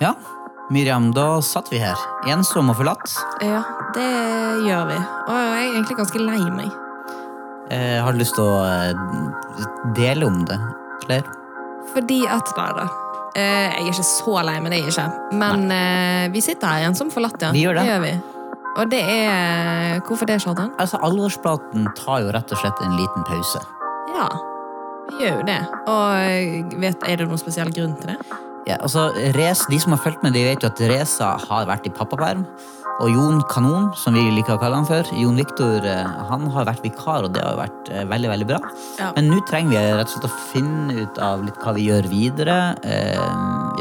Ja, Miriam, da satt vi her. Ensom og forlatt. Ja, det gjør vi. Og jeg er egentlig ganske lei meg. Eh, har du lyst til å eh, dele om det? Eller? Fordi at Nei da. Eh, Jeg er ikke så lei meg, det er jeg ikke. Men eh, vi sitter her igjen som forlatt, ja. Vi gjør det. gjør vi. Og det er eh, Hvorfor det, Kjartan? Altså, Alvorsplaten tar jo rett og slett en liten pause. Ja, vi gjør jo det. Og eh, vet, er det noen spesiell grunn til det? Ja, altså, Res, de som har fulgt med, de vet jo at Reza har vært i pappaperm. Og Jon Kanon, som vi liker å kalle han for, Jon Viktor, eh, han har vært vikar, og det har vært eh, veldig veldig bra. Ja. Men nå trenger vi rett og slett å finne ut av litt hva vi gjør videre. Eh,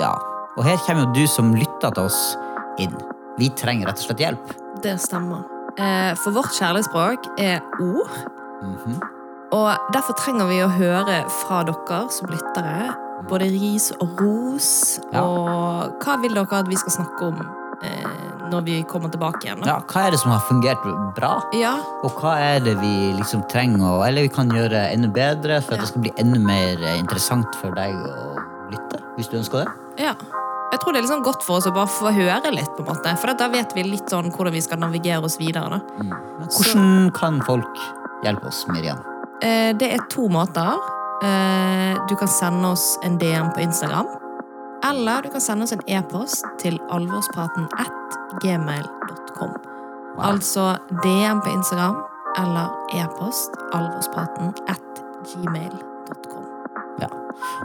ja. Og her kommer jo du som lytter til oss, inn. Vi trenger rett og slett hjelp. Det stemmer. Eh, For vårt kjærlighetsspråk er ord. Mhm. Og derfor trenger vi å høre fra dere som lyttere. Både ris og ros. Ja. Og hva vil dere at vi skal snakke om eh, når vi kommer tilbake igjen? Da? Ja, Hva er det som har fungert bra, Ja. og hva er det vi liksom trenger å Eller vi kan gjøre enda bedre for at Ja. det skal bli enda mer eh, interessant for deg å lytte, hvis du ønsker det. ja. Jeg tror det er liksom godt for oss å bare få høre litt, på en måte. For da vet vi litt sånn hvordan vi skal navigere oss videre. da. Men Hvordan kan folk hjelpe oss, Miriam? Eh, Det er to måter. Eh, Du kan sende oss en DM på Instagram. Eller du kan sende oss en e-post til alvorspraten at gmail.com. Altså DM på Instagram eller e-post alvorspraten at gmail.com. Ja.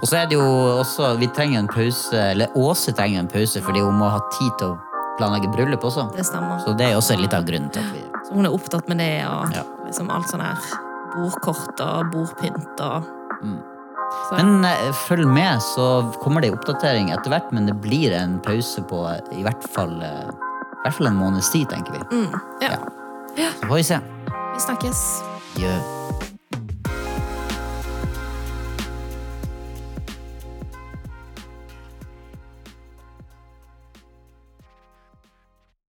Og så er det jo også Vi trenger en pause, eller Åse trenger en pause, fordi hun må ha tid til å planlegge bryllup også. Det stemmer. Så det er også litt av grunnen til at vi Så hun er opptatt med det og Ja. liksom alt sånn her bordkort og bordpynt og Så- Men eh, følg med, så kommer det en oppdatering etter hvert, men det blir en pause på eh, i hvert fall, eh, i hvert fall en måneds tid, tenker vi. mm, ja. Så får vi se. Vi snakkes. Gjør